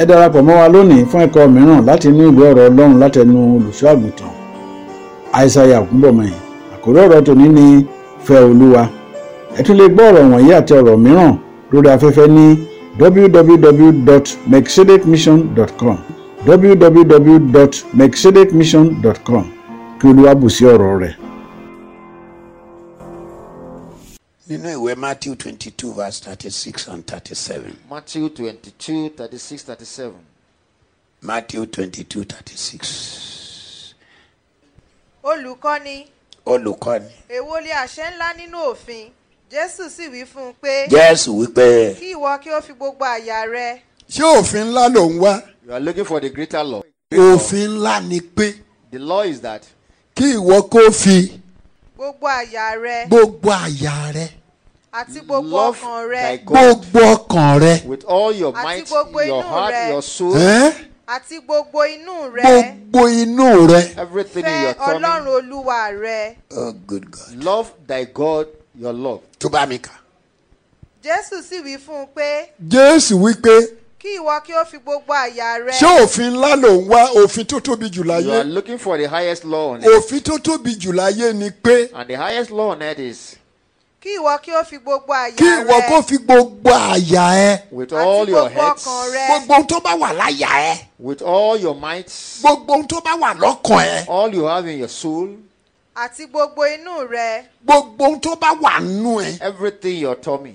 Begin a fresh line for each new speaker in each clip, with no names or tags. ẹ darapọ̀ mọ́ wa lónìí fún ẹ̀kọ́ mìíràn láti inú ìwé ọ̀rọ̀ ọlọ́run látẹnu olùṣọ́ àgùntàn àìsàyà ògúnbọ̀mọyìn àkórí ọ̀rọ̀ tòní ni fẹ́ olúwa ẹ tún lè gbọ́ ọ̀rọ̀ wọ̀nyí àti ọ̀rọ̀ mìíràn lórí afẹ́fẹ́ ní www.mexicidicmission.com www.mexicidicmission.com kí olúwa bù sí ọ̀rọ̀ rẹ̀.
nínú ìwé matthew twenty two verse thirty six and thirty seven
Matthew 22, 36, 37.
matthew twenty two thirty six
olùkọ́ni
olùkọ́ni
èwo lé àṣẹ ńlá nínú òfin jésù sì wí fún un pé
jésù wípé
kí ìwọ kí ó fi gbogbo àyà rẹ
ṣé òfin ńlá ló ń wá
You are looking for the greater law.
òfin ńlá ni pé
The law is that
kí ìwọ kó fi
gbogbo àyà rẹ
gbogbo àyà rẹ
àti gbogbo
love
ọkàn rẹ
thy God
gbogbo ọkàn rẹ
with all your
Àti
might,
gbogbo
your
inú
heart,
rẹ.
your soul,
ẹ́n?
àti gbogbo inú rẹ
gbogbo inú rẹ
everything in your
fẹ́
tummy.
ọlọ́run olúwa rẹ
oh good god
Love thy God, your love.
tó bá mi kà
jésù sì wí fún un pé
jésù wípé
kí ìwọ kí ó fi gbogbo àyà rẹ
ṣé òfin ńlá ló ń wá òfin tó tóbi jù
You are
láyé
looking for the highest law on earth.
òfin tó tóbi jù láyé ni pé
And the highest law on earth is
kí ìwọ kí ó fi gbogbo àyà
kí
rẹ
ìwọ kó fi gbogbo àyà ẹ
with
àti
all your
gbogbo
heart,
ọkàn rẹ
gbogbo ohun tó bá wà láyà ẹ
with all your might,
gbogbo ohun tó bá wà lọ́kàn ẹ
all you have in your soul,
àti gbogbo inú rẹ
gbogbo ohun tó bá wà nínú ẹ
everything in your tummy.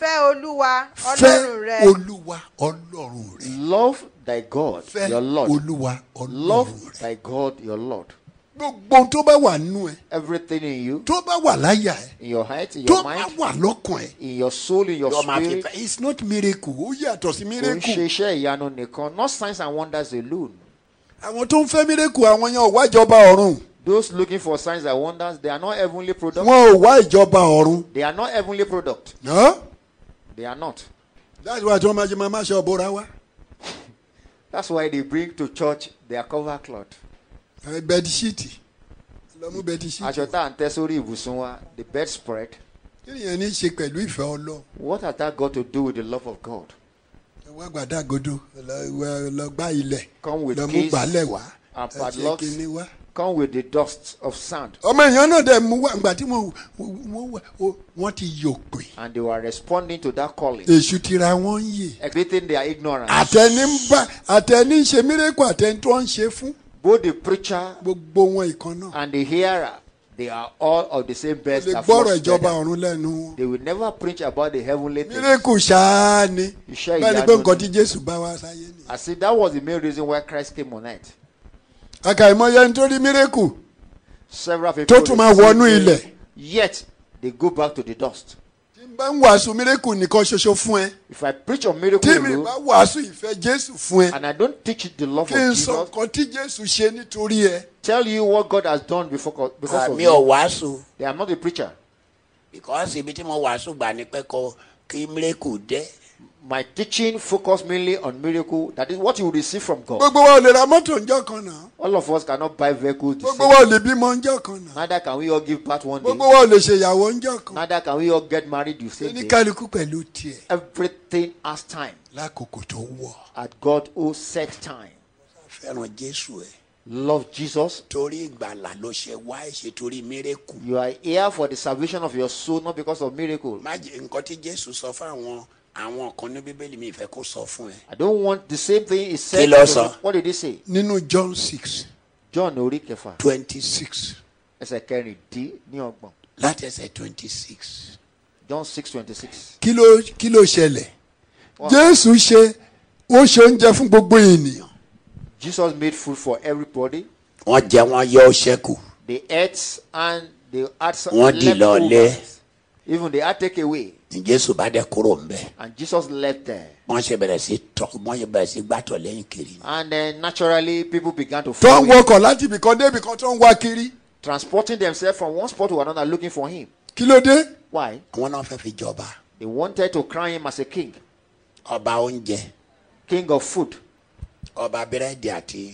fẹ́ olúwa
fẹ́
ọlọ́run rẹ
olúwa ọlọ́run rẹ
Love thy God,
fẹ́
your Lord.
olúwa ọlọ́run
Love
rẹ
thy God, your Lord.
gbogbo ohun tó bá wà nínú ẹ
Everything in you,
tó bá wà láyà ẹ
in your heart, in
tó
your
bá
mind,
wà lọ́kàn ẹ
in your soul, in your
Your mouth is
spirit.
fed.
it's not miracle ó yàtọ̀ sí
Kò ń ṣe
miracle
iṣẹ́ ìyanu nìkan, not signs and wonders alone.
àwọn tó ń fẹ́ miracle àwọn yẹn ò wá ìjọba ọ̀run
Those looking for signs and wonders, they are not heavenly product.
wọn ò wá ìjọba ọ̀run
They are not heavenly product.
náà
They are not.
that's why tí wọ́n máa ṣe máa ṣe ọ̀bọ̀ra wa
That's why they bring to church their cover cloth.
bẹ́ẹ̀dìṣíìtì lọ́mú bẹ́ẹ̀dìṣíìtì
Aṣọ tá à ń tẹ́ sórí ìbùsùn wa, the bed spread.
kí nìyẹn ní í ṣe pẹ̀lú ìfẹ́ ọlọ́run
What has that got to do with the love of God?
wọ́n gbàdá godo lọ- wọ- lọ gbá ilẹ̀
Come with
lọ mú
keys
gbálẹ̀ wá
and
ẹ ṣe
padlocks.
kinní wá.
Come with the dust of sand.
ọmọ èèyàn náà dẹ̀ mú wá ìgbà tí wọ́n wọ́n wá- ó- wọ́n ti yò pé
And they were responding to that calling,
èṣù tira wọn ń yè
exhibiting their ignorance.
àtẹni ń bá àtẹni ń ṣe mírèkù àtẹni tó ń ṣe fún
Both the preacher
gbogbo wọn ìkan náà
and the hearer, they are all of Ah, the same
ó
bed.
lè
that
gbọ́rọ̀
flows
ìjọba
together.
ọ̀run lẹ́nu wọn
They will never preach about the heavenly things.
mírèkù ṣáá ni
Iṣẹ́
bẹ́ẹ̀ ni pé
ìyanu
nǹkan
ni.
tí jésù bá wá sáyé ni.
I see that was the main reason why Christ came on earth.
àkàìmọye nítorí mírèkù
Several people.
Tó tún máa wọnú ilẹ̀.
Yet they go back to the dust.
tí n bá ń wàásù mírèkù nìkan ṣoṣo fún ẹ
If I preach on
tí
miracle
mi bá
alone,
wàásù ìfẹ́ jésù fún ẹ.
and I don't teach the love
kí
of
n sọ
Jesus,
nǹkan tí jésù ṣe nítorí ẹ
tell you what God has done before because of
Ah, mi ò
you.
wàásù
They are not the preacher.
because ibi tí mo wàásù gbà ní pẹ́kọ kí miracle dé
My teaching focus mainly on miracle. That is what you receive from God.
gbogbo wa ò lè ra mọ́tò ńjọ́ kan náà
All of us cannot buy vehicles. the
gbogbo
same.
wa ò lè bímọ ńjọ́ kan náà
Neither can we all give birth one
gbogbo
day.
wa ò lè ṣèyàwó ńjọ́ kan
Neither can we all get married the same day.
oníkálukú pẹ̀lú tiẹ̀
Everything has time.
lákòókò tó wọ̀
At God who set time.
fẹ́ràn jésù ẹ̀
Love Jesus.
torí ìgbàlà ló ṣe wá ẹ̀ ṣe torí miracle
You are here for the salvation of your soul, not because of miracle.
má jẹ́ nǹkan tí jésù sọ fún àwọn àwọn kan ní bíbélì mi ìfẹ́ kó sọ fún ẹ.
I don't want the same thing he said.
Kí ló sọ?
What did he say?
nínú john six
John orí kẹfà
twenty six
six
ẹsẹ̀ kẹrin dín ní ọgbọ̀n.
láti ẹsẹ̀ twenty six.
John six twenty six.
kí ló kí ló ṣẹlẹ̀ jésù ṣe ó ṣe oúnjẹ fún gbogbo ènìyàn
Jesus made food for everybody.
wọ́n jẹ wọ́n yọ ọ́ ṣẹ́kù.
They ate and they had some
Wọ́n dì lọ́lẹ̀.
leftovers. Even they had take away
ní jésù bá dẹ kúrò ńbẹ.
and Jesus left there.
wọ́n ṣe bẹ̀rẹ̀ sí tọ́ wọ́n ṣe bẹ̀rẹ̀ sí gbàtọ̀ lẹ́yìn kiri.
And then naturally people began to
tó ń
follow him,
wọkọ̀ láti ibìkan dé ibìkan tó ń wá kiri
transporting themselves from one spot to another looking for him.
kí ló dé
Why?
àwọn náà fẹ́ fi jọba
They wanted to crown him as a king,
ọba oúnjẹ
king of food,
ọba búrẹ́dì àti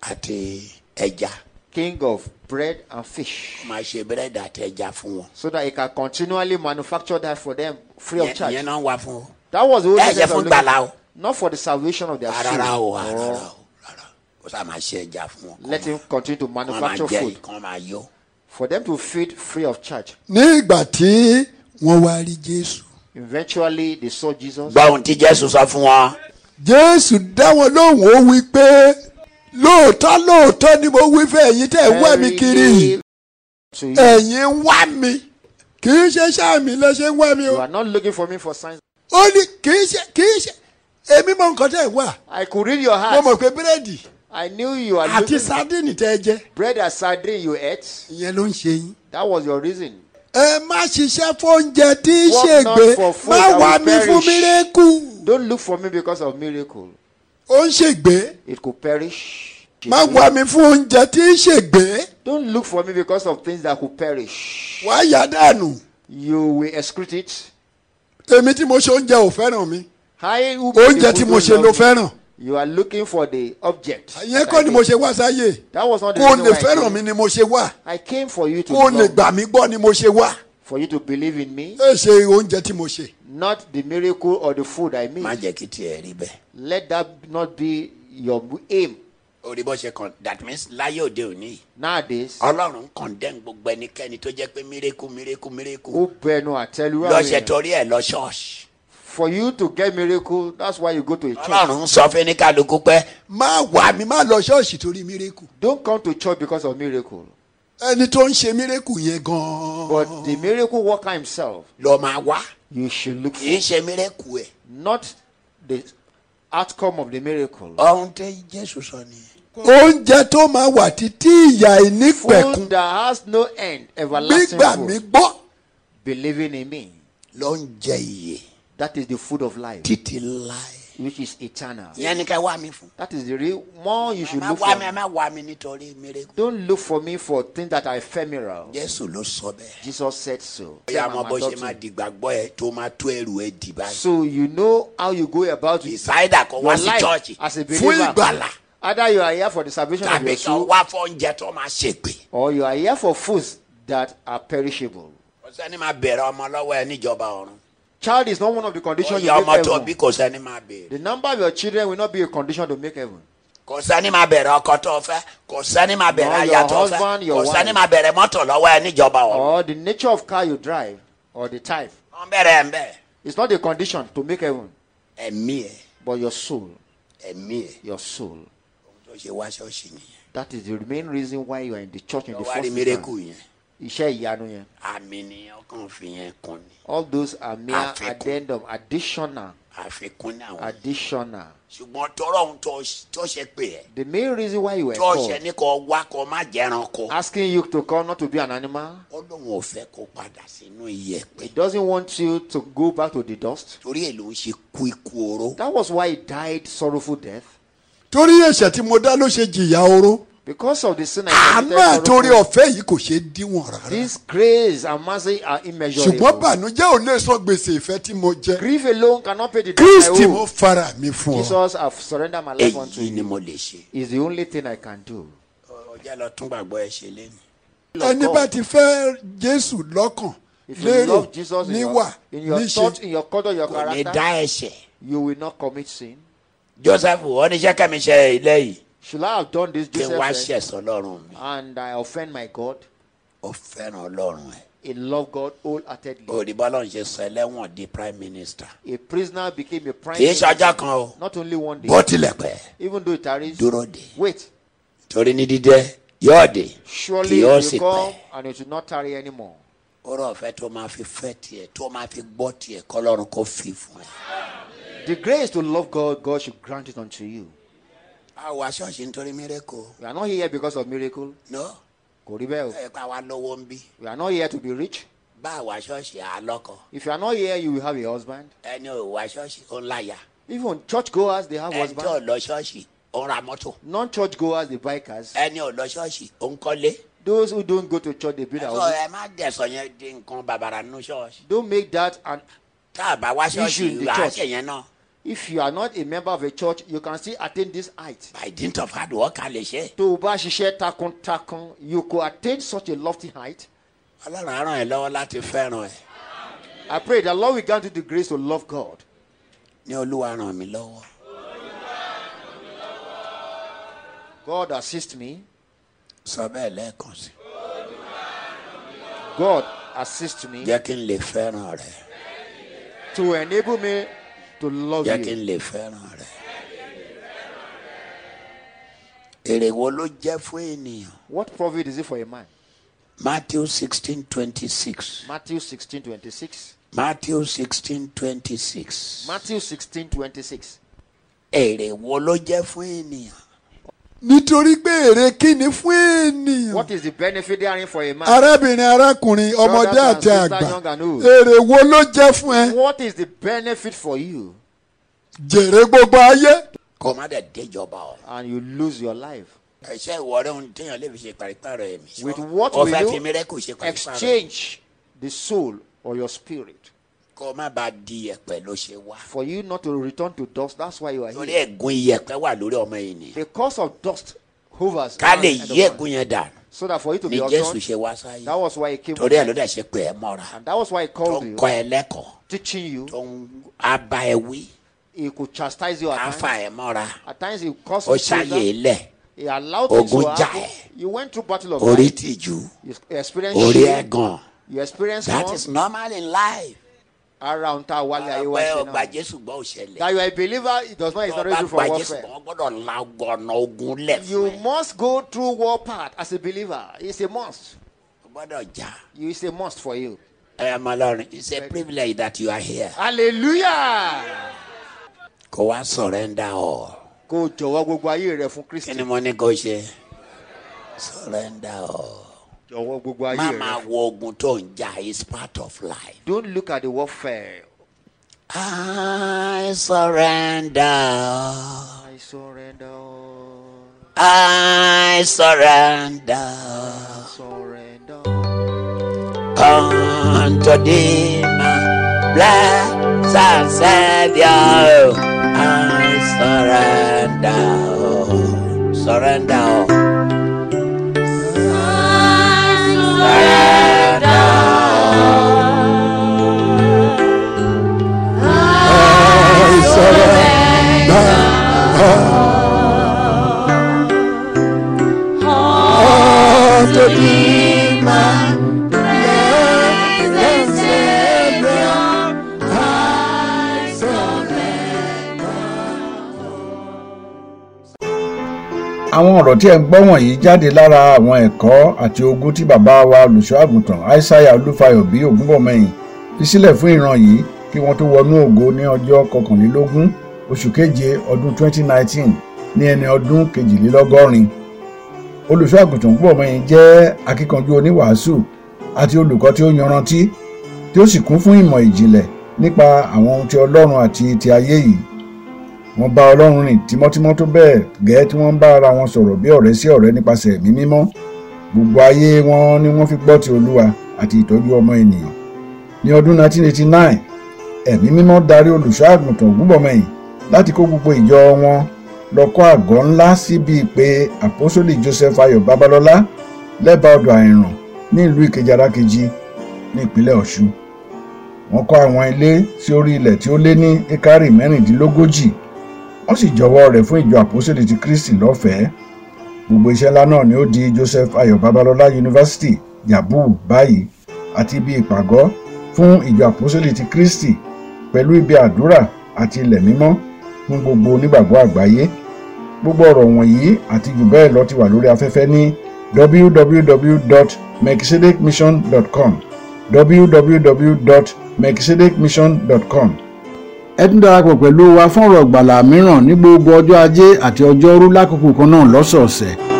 àti ẹja
king of bread and fish.
máa ṣe búrẹ́dì àti ẹja fún wọn.
so that he can continually manufacture that for them free of
Yẹn-
charge.
yẹn náà wà fún o.
That was the whole
ẹ jẹ
essence of
fún
looking-
gbàlà o
not for the salvation of their soul.
rárá o rárá
or
o rárá o sá máa ṣe ẹja fún wọn.
let him continue to
kán máa
manufacture
jẹ
food
kán máa yó.
for them to feed free of charge.
ní ìgbà tí wọ́n wá rí jésù
Eventually, they saw Jesus.
gbọ́ ohun tí jésù sọ fún wọn.
jésù dá wọn lóhùn ó wí pé lóòótọ́ lóòótọ́ ni mo wí fẹ́ ẹ̀yin tẹ́ ẹ̀ ń wá mi
Every
kiri yìí
day to you.
ẹ̀yin ń wá mi kì í ṣe sáàmì lẹ ṣe ń wá mi o
You are not looking for me for signs.
ó ní kì í ṣe kì í ṣe èmi mọ nǹkan tẹ́ ẹ̀ ń wá
I could read your
mo
heart.
mọ̀ pé búrẹ́dì
I knew you are
àti
looking.
sádìnì tẹ́ ẹ jẹ
Bread and sardine you ate.
ìyẹn ló ń ṣe yín.
That was your reason.
ẹ má ṣiṣẹ́ fóúnjẹ tí í
Work
ṣègbé
not for food
má
that
wá
will
mi fún
perish.
mírẹ́kù.
Don't look for me because of miracle.
ó ń ṣègbé
It could perish.
má wá mi fún oúnjẹ tí í ṣègbé
Don't look for me because of things that could perish.
wá yà dànù
You will excrete it.
èmi tí mo ṣe oúnjẹ ò fẹ́ràn mi
I will be the
oúnjẹ tí
good
mo
who
ṣe ló
loves you.
fẹ́ràn
You are looking for the object.
ìyẹn
that I
kọ́ ni mo
did.
ṣe wá sáyé
That was not the
kó o
reason
lè
why I
fẹ́ràn
came.
mi ni mo ṣe wá
I came for you to
kó o lè
love,
gbà mí gbọ́ ni mo ṣe wá
for you to believe in me,
ẹ ṣe oúnjẹ tí mo ṣe
not the miracle or the food I
má
made.
jẹ́ kí tiẹ̀ rí bẹ́ẹ̀.
Let that not be your aim.
orí bó ṣe kàn that means láyé òde òní yìí.
Nowadays,
ọlọ́run condemn gbogbo ẹnikẹ́ni tó jẹ́ pé miracle miracle miracle.
ó bẹnu àtẹlu àwọn
lọ́sẹ̀
èèyàn.
torí ẹ̀ lọ ṣọ́ọ̀ṣì.
for you to get miracle that's why you go to a church.
ọlọ́run sọ fún ní kálukú pé
má wá mi má lọ ṣọ́ọ̀ṣì torí mírẹ́kù
Don't come to church because of miracle.
ẹni tó ń ṣe mírẹ́kù yẹn gan-an
But the miracle worker himself,
lọ máa wá
you should look for
kì í ṣe miracle ẹ̀.
not the outcome of the miracle.
ohun tí jésù sọ nìyẹn.
oúnjẹ tó máa wà títí ìyá ìnípẹ̀kun
Food that has no end, everlasting
gbígbà
food.
mí gbọ́
Believing in me,
ló ń jẹ iye
that is the food of life,
títí láì.
which is eternal.
ìyẹn ni ká wá mi fún.
That is the real more you
ẹ
should
má
look
wá mi ẹ
for.
má wá mi nítorí miracle.
Don't look for me for things that are ephemeral.
jésù ló sọ bẹ́ẹ̀.
Jesus said so.
bóyá
Them
ọmọ
I'm
bó ṣe
adopting.
máa dìgbàgbọ́ ẹ tó máa tó ẹrù ẹ dì báyìí.
So you know how you go about it.
ìsáyédà kan wá
Your
sí
life
chọ́ọ̀chì
as a
fún
believer.
ìgbàlà
Either you are here for the salvation of
tàbí
your
kan
soul,
wá fọ́njẹ tó máa ṣègbè.
or you are here for foods that are perishable.
kò sẹ́ni máa bẹ̀rẹ̀ ọmọ lọ́wọ́ ẹ níjọba ọ̀run.
Child is not one of the
ó
conditions
yẹ
to make
ọmọ tó bí
heaven.
kò sẹ́ni máa bẹ̀rẹ̀.
The number of your children will not be a condition to make heaven.
kò sẹ́ni máa bẹ̀rẹ̀ ọkọ tó fẹ́ kò sẹ́ni máa bẹ̀rẹ̀
No, your
aya tó fẹ́
husband,
kò
your
sẹ́ni
wife.
máa bẹ̀rẹ̀ mọ́tò lọ́wọ́ ẹ níjọba ọ̀run.
Or the nature of car you drive, or the type.
wọ́n bẹ̀rẹ̀ ẹ̀ ń bẹ̀
It's not a condition to make heaven,
ẹ̀mí ẹ̀
but your soul.
ẹ̀mí ẹ̀
Your soul.
ohun tó ṣe wá ṣọ́ọ̀ṣì nìyẹn.
That is the main reason why you are in the church in
lọ
the
wá rí
first
mírẹ́kù
instance.
yẹn
Iṣẹ́ ìyanu yẹn.
àmì nìyẹn ọkàn fi yẹn kún ni
All those are mere
Àfikún.
addendum, additional,
àfikún ní àwọn.
additional.
ṣùgbọ́n tọrọ ohun tó- tó ṣe pé ẹ
The main reason why you were
tó ṣe
called,
ní kó wá kó má jẹran kó.
asking you to come not to be an animal,
ó lóun ò fẹ́ kó padà sínú iyẹ̀pẹ̀
it doesn't want you to go back to the dust.
torí ẹ̀ ló ń ṣe kú ikú oró.
That was why he died sorrowful death.
torí ẹ̀ṣẹ̀ tí mo dá ló ṣe jìyà oró
Because of the sin
Ah,
I
àánú
committed,
àtòrí
sorrowful-
ọ̀fẹ́ yìí kò ṣeé díwọ̀n rárá
This grace and mercy are
ṣùgbọ́n
immeasurable.
bànújẹ́ ò lè sọ gbèsè ìfẹ́ tí mo jẹ
Grief alone cannot pay the debt I
kristi
owe.
mo fara mi fún ọ
Jesus, I've surrendered my life unto
èyí ni
you.
mo lè ṣe.
Is the only thing I can do.
ọjà lọ tún gbàgbọ́ ẹ ṣe lẹ́nu.
ẹni bá ti fẹ́ jésù lọ́kàn
If you
lérò
love Jesus in
níwà
your, in your thought,
níṣe
in your culture, your
kò ní
character,
dá ẹ̀ṣẹ̀.
you will not commit sin.
joseph oníṣẹ́ kẹ́mi ṣe ilé yìí
Should I have done this,
kí n
Joseph?
wá
said,
ṣẹ̀sán ọlọ́run mi.
And I offend my God.
ó fẹ́ràn ọlọ́run ẹ̀.
He loved God wholeheartedly.
òdìbọ́ lọ́run ṣe sọ ẹlẹ́wọ̀n di prime minister.
A prisoner became a prime
kì í ṣe
minister.
ọjọ́ kan o
Not only one day,
bó tilẹ̀ pẹ́
even though it tarries.
dúró de
Wait,
torí ní dídẹ́ yóò de kì
surely
yóò
it
sì
will
pẹ́.
come and it will not tarry anymore.
ọ̀rọ̀ ọ̀fẹ́ tó máa fi fẹ́ tiẹ̀ tó máa fi gbọ́ tiẹ̀ kọ́lọ́run kó fi fún ẹ.
The grace to love God, God should grant it unto you.
a wà ṣọ́ọ̀ṣì nítorí miracle
We are not here because of miracle.
no
Kò rí bẹ́ẹ̀ o.
ẹ pa wá lọ́wọ́ ń bí
We are not here to be rich.
bá a wà ṣọ́ọ̀ṣì à á lọ́kọ
If you are not here, you will have a husband.
ẹni ò wá ṣọ́ọ̀ṣì ó ń láyà
Even churchgoers, they have
ẹni tí ò
husbands.
lọ ṣọ́ọ̀ṣì ó ń ra mọ́tò
Non-churchgoers, they buy cars.
ẹni ò lọ ṣọ́ọ̀ṣì ó ń kọ́lé.
Those who don't go to church, they build
ẹ
their
sọ
houses.
ẹ má dẹ̀sọ̀ yẹn di nǹkan bàbàrà nínú ṣọ́ọ̀ṣì.
Don't make that an.
tá a bá wá ṣọ́ọ̀ṣì
Issue in the
wà á
church.
ṣe yẹn náà
If you are not a member of a church, you can still attain this height.
by dint of hard work a lè ṣe.
Tó o bá ṣiṣẹ́ takuntakun, you could attain such a lofty height.
ọlọ́run á ràn ẹ́ lọ́wọ́ láti fẹ́ràn ẹ̀
I pray that Lord will grant you the grace to love God.
ní olúwa ràn mí lọ́wọ́
God assist me.
sọ bẹ́ẹ̀ lẹ́ẹ̀kan sí
God assist me
jẹ́ kí n lè fẹ́ràn rẹ
to enable me to love
jẹ́ kí
you.
n lè fẹ́ràn rẹ. èrè wo ló jẹ́ fún ènìyàn
What profit is it for a man?
matthew sixteen twenty six
Matthew 16 26.
matthew sixteen twenty six
Matthew 16 26.
èrè wo ló jẹ́ fún ènìyàn
nítorí pé èrè kíni fún ènìyàn.
What is the benefit therein for a
Ah,
man?
arábìnrin arákùnrin ọmọdé
Brothers and
àti
sisters,
àgbà
young and
Eh.
old.
èrè wo ló jẹ́ fún ẹ
What is the benefit for you?
jèrè gbogbo ayé
kó o má dẹ̀ déjọba o.
And you lose your life.
ẹ̀ṣẹ́ ìwọ rẹ̀ ń téèyàn lè fi ṣe pàrípàrọ̀ ẹ̀mí.
With what
o fẹ́
will
fi
you
mírẹ́kù ṣe pàrípàrọ̀ ẹ̀mí.
exchange the soul or your spirit
kó o má bàa di iyẹ̀pẹ̀ ló ṣe wá.
for you not to return to dust? That's why you are
torí
here.
ẹ̀gún iyẹ̀pẹ̀ wà lórí ọmọ ènìyàn.
The cause of dust hovers.
ká
around
lè
the end of
yí
man.
ẹ̀gún yẹn dànù.
So that for you to
ni
be
jésù
undone,
ṣe wá sáyé.
that was why he came.
torí ẹ̀ ló dẹ̀ ṣe pé ẹ mọ́ra.
And that was why he
tó
called
ń
you,
kọ́ ẹ lẹ́kọ̀ọ́.
teaching you.
tó ń abá ẹ wí.
He could chastise you
á
at
fà
times.
ẹ mọ́ra.
At times he caused
ó
you to
ṣàyè
failure.
ilẹ̀.
He allowed things to
Ogun jà
happen.
ẹ́.
You went through battle of
orí
life.
tìjú.
You experienced
orí
shame.
ẹ̀gàn.
You experienced
that
wrong.
is normal in life.
around ta wale ayé wa
ọ̀pẹ
ṣe
ọgbà
náà.
jésù gbọ́ òṣèlè.
That you are a believer, it does not
ọba
exonerate you
gba
from
jésù
warfare.
kan gbọ́dọ̀ la ọ̀nà ogun lẹ̀ fún
You
ẹ.
must go through war path as a believer. It's a must.
o gbọ́dọ̀ jà.
You- It's a must for you.
ẹ ọmọ ọlọrin it's a privilege that you are here.
Hallelujah!
kò wá surrender all.
Kò jọ̀wọ́ gbogbo ayé rẹ fún
kí ni
Kristi.
mo ní kó ṣe. surrender all.
Jọ̀wọ́ gbogbo ayé
má
rẹ.
máa wo ogun tó ń jà is part of life.
Don't look at the warfare.
I surrender all.
I surrender. all.
I surrender all.
I surrender.
unto thee, my blessed Savior. I surrender, surrender.
àwọn ọ̀rọ̀ tí ẹ̀ ń gbọ́ wọ̀nyí jáde lára àwọn ẹ̀kọ́ àti ogun tí bàbá wa olùṣọ́àgùntàn aishaiya olúfayọ bí ògúnbọ̀mọyìn fi sílẹ̀ fún ìran yìí kí wọ́n tó wọnú ògo ní ọjọ́ kọkànlélógún oṣù keje ọdún 2019 ní ẹni ọdún kejìlélọ́gọ́rin olùṣọ́àgùntàn ògúnbọ̀mọyìn jẹ́ akíkanjú oníwàásù àti olùkọ́ tí ó yanrantí tí ó sì kún fún ìmọ̀ ìjìnlẹ̀ nípa àwọn ohun ti ọlọ́run àti ti ayé yìí wọ́n bá ọlọ́run rìn tímọ́tímọ́ tó bẹ́ẹ̀ gẹ́ẹ́ tí wọ́n ń bá ara wọn sọ̀rọ̀ bí ọ̀rẹ́ sí ọ̀rẹ́ nípasẹ̀ ẹ̀mí mímọ́ gbogbo ayé wọn ni wọ́n fi gbọ́ ti olúwa àti ìtọ́jú ọmọ ènìyàn ní ọdún 1989 ẹ̀mí mímọ́ darí olùṣọ́ àgùntàn ògúnbọ̀mọyìn láti kó gbogbo ìjọ wọn lọ kọ́ àgọ́ ńlá síbi pé àpọ́sólì joseph ayọ̀ babalọ́lá lẹ́bàá ọdọ̀ àìràn ní ìlú ìkejì-arakejì ní ìpínlẹ̀ ọ̀ṣun wọ́n kọ́ àwọn ilé sí orí ilẹ̀ tí ó lé ní ekari mẹ́rìndínlógójì wọ́n sì jọwọ́ rẹ̀ fún ìjọ àpòsílẹ̀ ti kristi lọ́fẹ̀ẹ́ gbogbo iṣẹ́ ńlá náà ni ó di joseph ayo babalọla university yabu báyìí àti ibi ìpàgọ́ fún ìjọ àpòsílẹ̀ ti kristi pẹ̀lú ibi àdúrà àti ilẹ̀ mímọ́ fún gbogbo onígbàgbọ́ àgbáyé gbogbo ọ̀rọ̀ wọ̀nyí àti jù bẹ́ẹ̀ lọ ti wà lórí afẹ́fẹ́ ní www.mekisedekmission.com www.mekisedekmission.com ẹ tún darapọ̀ pẹ̀lú wa fún ọ̀rọ̀ ìgbàlà mìíràn ní gbogbo ọjọ́ ajé àti ọjọ́rú lákòókò kan náà lọ́sọ̀ọ̀sẹ̀